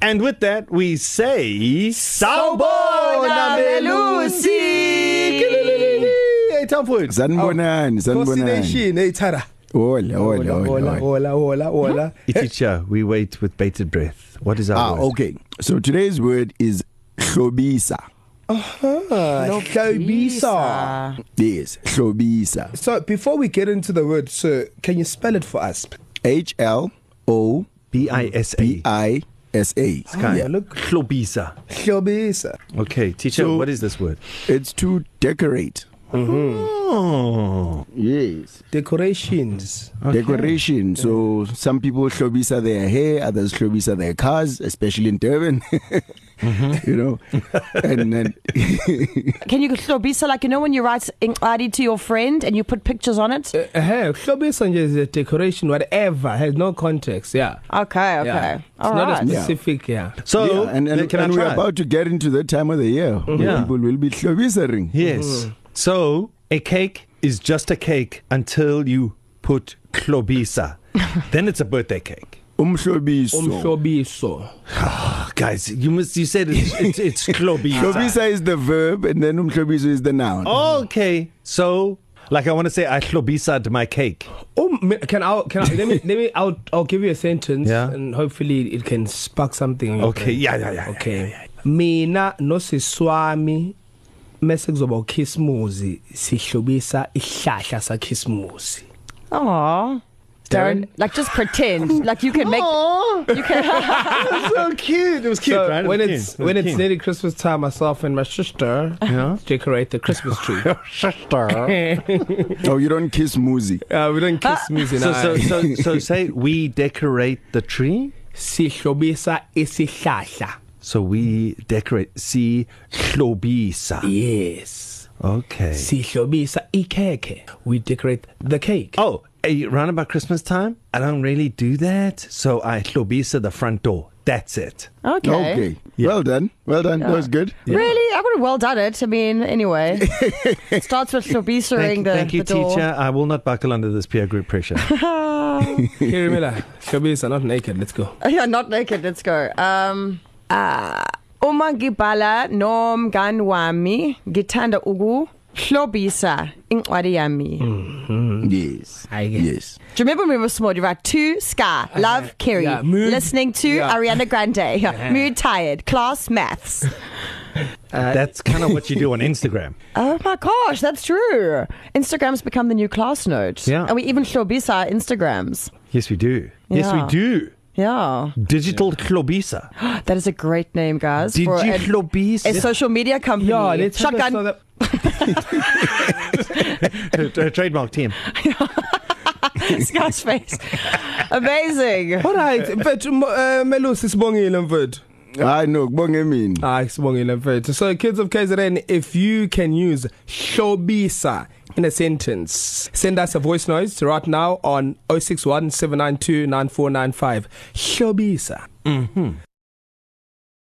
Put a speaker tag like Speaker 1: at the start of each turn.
Speaker 1: And with that, we say Sawubona Melusi. Hey Tamfowethu. Oh,
Speaker 2: sanibonani
Speaker 3: Nkosi
Speaker 2: sanibonani
Speaker 3: Nation eyithara.
Speaker 2: hola hola
Speaker 3: hola
Speaker 2: hola
Speaker 3: hola hola hola.
Speaker 1: Teacher, we wait with bated breath. What is our
Speaker 2: ah
Speaker 1: word?
Speaker 2: okay so today's word is hlobisa
Speaker 3: Ah, Hlobisa.
Speaker 4: Ah.
Speaker 2: yes hlobisa
Speaker 3: So before we get into the word, so can you spell it for us?
Speaker 2: h l o
Speaker 1: B I S A.
Speaker 2: b i s a
Speaker 3: Sky.
Speaker 2: yeah.
Speaker 3: Look,
Speaker 1: Klobisa.
Speaker 3: Hlobisa.
Speaker 1: Okay, teacher,
Speaker 2: So-
Speaker 1: what is this word?
Speaker 2: it's to decorate
Speaker 1: Oh.
Speaker 2: yes
Speaker 3: Decorations.
Speaker 5: Uh,
Speaker 2: okay. decoration so some people hlobisa their hair others hlobisa their cars especially in Durban
Speaker 1: Mm-hmm.
Speaker 2: you know and then
Speaker 4: Can you hlobisa like you know when you write incwadi to your friend and you put pictures on it?
Speaker 5: Uh-huh. Hlobisa nje is a decoration, whatever, has no context. Yeah.
Speaker 4: Okay, okay,
Speaker 5: Yeah. It's
Speaker 4: all
Speaker 5: not
Speaker 4: right.
Speaker 5: a specific, yeah. yeah.
Speaker 1: So,
Speaker 2: yeah, and, and,
Speaker 1: can
Speaker 2: and
Speaker 1: I
Speaker 2: we're
Speaker 1: try?
Speaker 2: about to get into the time of the year when
Speaker 1: Yeah.
Speaker 2: people will be hlobisering
Speaker 1: Yes. Oh. So a cake is just a cake until you put klobisa. then it's a birthday cake.
Speaker 2: umhlobiso
Speaker 5: Umhlobiso.
Speaker 1: Oh, guys, you must. You said it's it's, it's klobisa.
Speaker 2: Hlobisa is the verb and then umhlobiso is the noun.
Speaker 1: okay. So, like, I want to say I klobisa'd my cake.
Speaker 5: Um, me- can I? Can I, let me? Let me. I'll. I'll give you a sentence,
Speaker 1: Yeah.
Speaker 5: and hopefully it can spark something. In your
Speaker 1: Okay,
Speaker 5: brain.
Speaker 1: yeah, yeah, yeah, yeah,
Speaker 5: Okay. Mina nosiswami mase kuzoba ukhisimuzi sihlobisa ihlahla sakhisimuzi.
Speaker 4: Aww. Darren, like just pretend, like you can make. You can,
Speaker 1: so cute. It was cute,
Speaker 5: So
Speaker 1: right?
Speaker 5: when
Speaker 1: it was
Speaker 5: it's
Speaker 1: cute. It was
Speaker 5: when it's
Speaker 1: cute.
Speaker 5: nearly Christmas time, myself and my sister yeah. decorate the Christmas tree.
Speaker 2: Oh, you don't kiss Muzi.
Speaker 5: uh, we don't kiss music.
Speaker 1: So, so, so, so say we decorate the tree.
Speaker 5: sihlobisa isihlahla.
Speaker 1: So we decorate. See, klobisa.
Speaker 5: Yes.
Speaker 1: Okay.
Speaker 5: Sihlobisa ikhekhe. We decorate the cake.
Speaker 1: Oh, eh, round about Christmas time, I don't really do that. So I klobisa the front door. That's it.
Speaker 4: okay.
Speaker 2: Okay. okay. Yeah. Well done. Well done. Yeah. That was good. Yeah.
Speaker 4: Really, I would have well done it. I mean, anyway, it starts with
Speaker 1: Thank,
Speaker 4: hlobisering the,
Speaker 1: thank you,
Speaker 4: the door.
Speaker 1: teacher. I will not buckle under this peer group pressure.
Speaker 5: Here, Miller. Hlobisa, not naked. Let's go.
Speaker 4: Yeah, not naked. Let's go. Um, uh, uma ngibhala nomngani wami ngithanda uku hlobisa incwadi yami. Do
Speaker 2: Yes.
Speaker 5: I get it.
Speaker 2: Yes.
Speaker 4: you remember when we were small? You write to Sky, love Kerry,
Speaker 5: Uh-huh. Yeah, mood-
Speaker 4: listening to
Speaker 5: yeah. Uh-huh.
Speaker 4: Ariana Grande, mood tired, class maths.
Speaker 1: That's kind of what you do on Instagram.
Speaker 4: Oh my gosh, that's true. Instagram's become the new class note.
Speaker 1: Yeah.
Speaker 4: and we even hlobisa our Instagrams.
Speaker 1: Yes, we do. Yes,
Speaker 4: Yeah.
Speaker 1: we do.
Speaker 4: Yeah,
Speaker 1: Digital klobisa.
Speaker 4: that is a great name, guys.
Speaker 1: Did
Speaker 4: for
Speaker 1: you
Speaker 4: a- a
Speaker 1: klobisa?
Speaker 4: social media company.
Speaker 5: Yeah, let's have
Speaker 4: Shotgun.
Speaker 5: a- so that-
Speaker 1: Trademark team.
Speaker 4: Scott's face. Amazing.
Speaker 5: All right, mfethu m- uh, Melusi sibongile mfethu.
Speaker 2: I know. Bonge mean.
Speaker 5: Hayi sibongile mfethu. So kids of KZN if you can use hlobisa in a sentence send us a voice note right oh now on 0617929495 hlobisa. Mhm.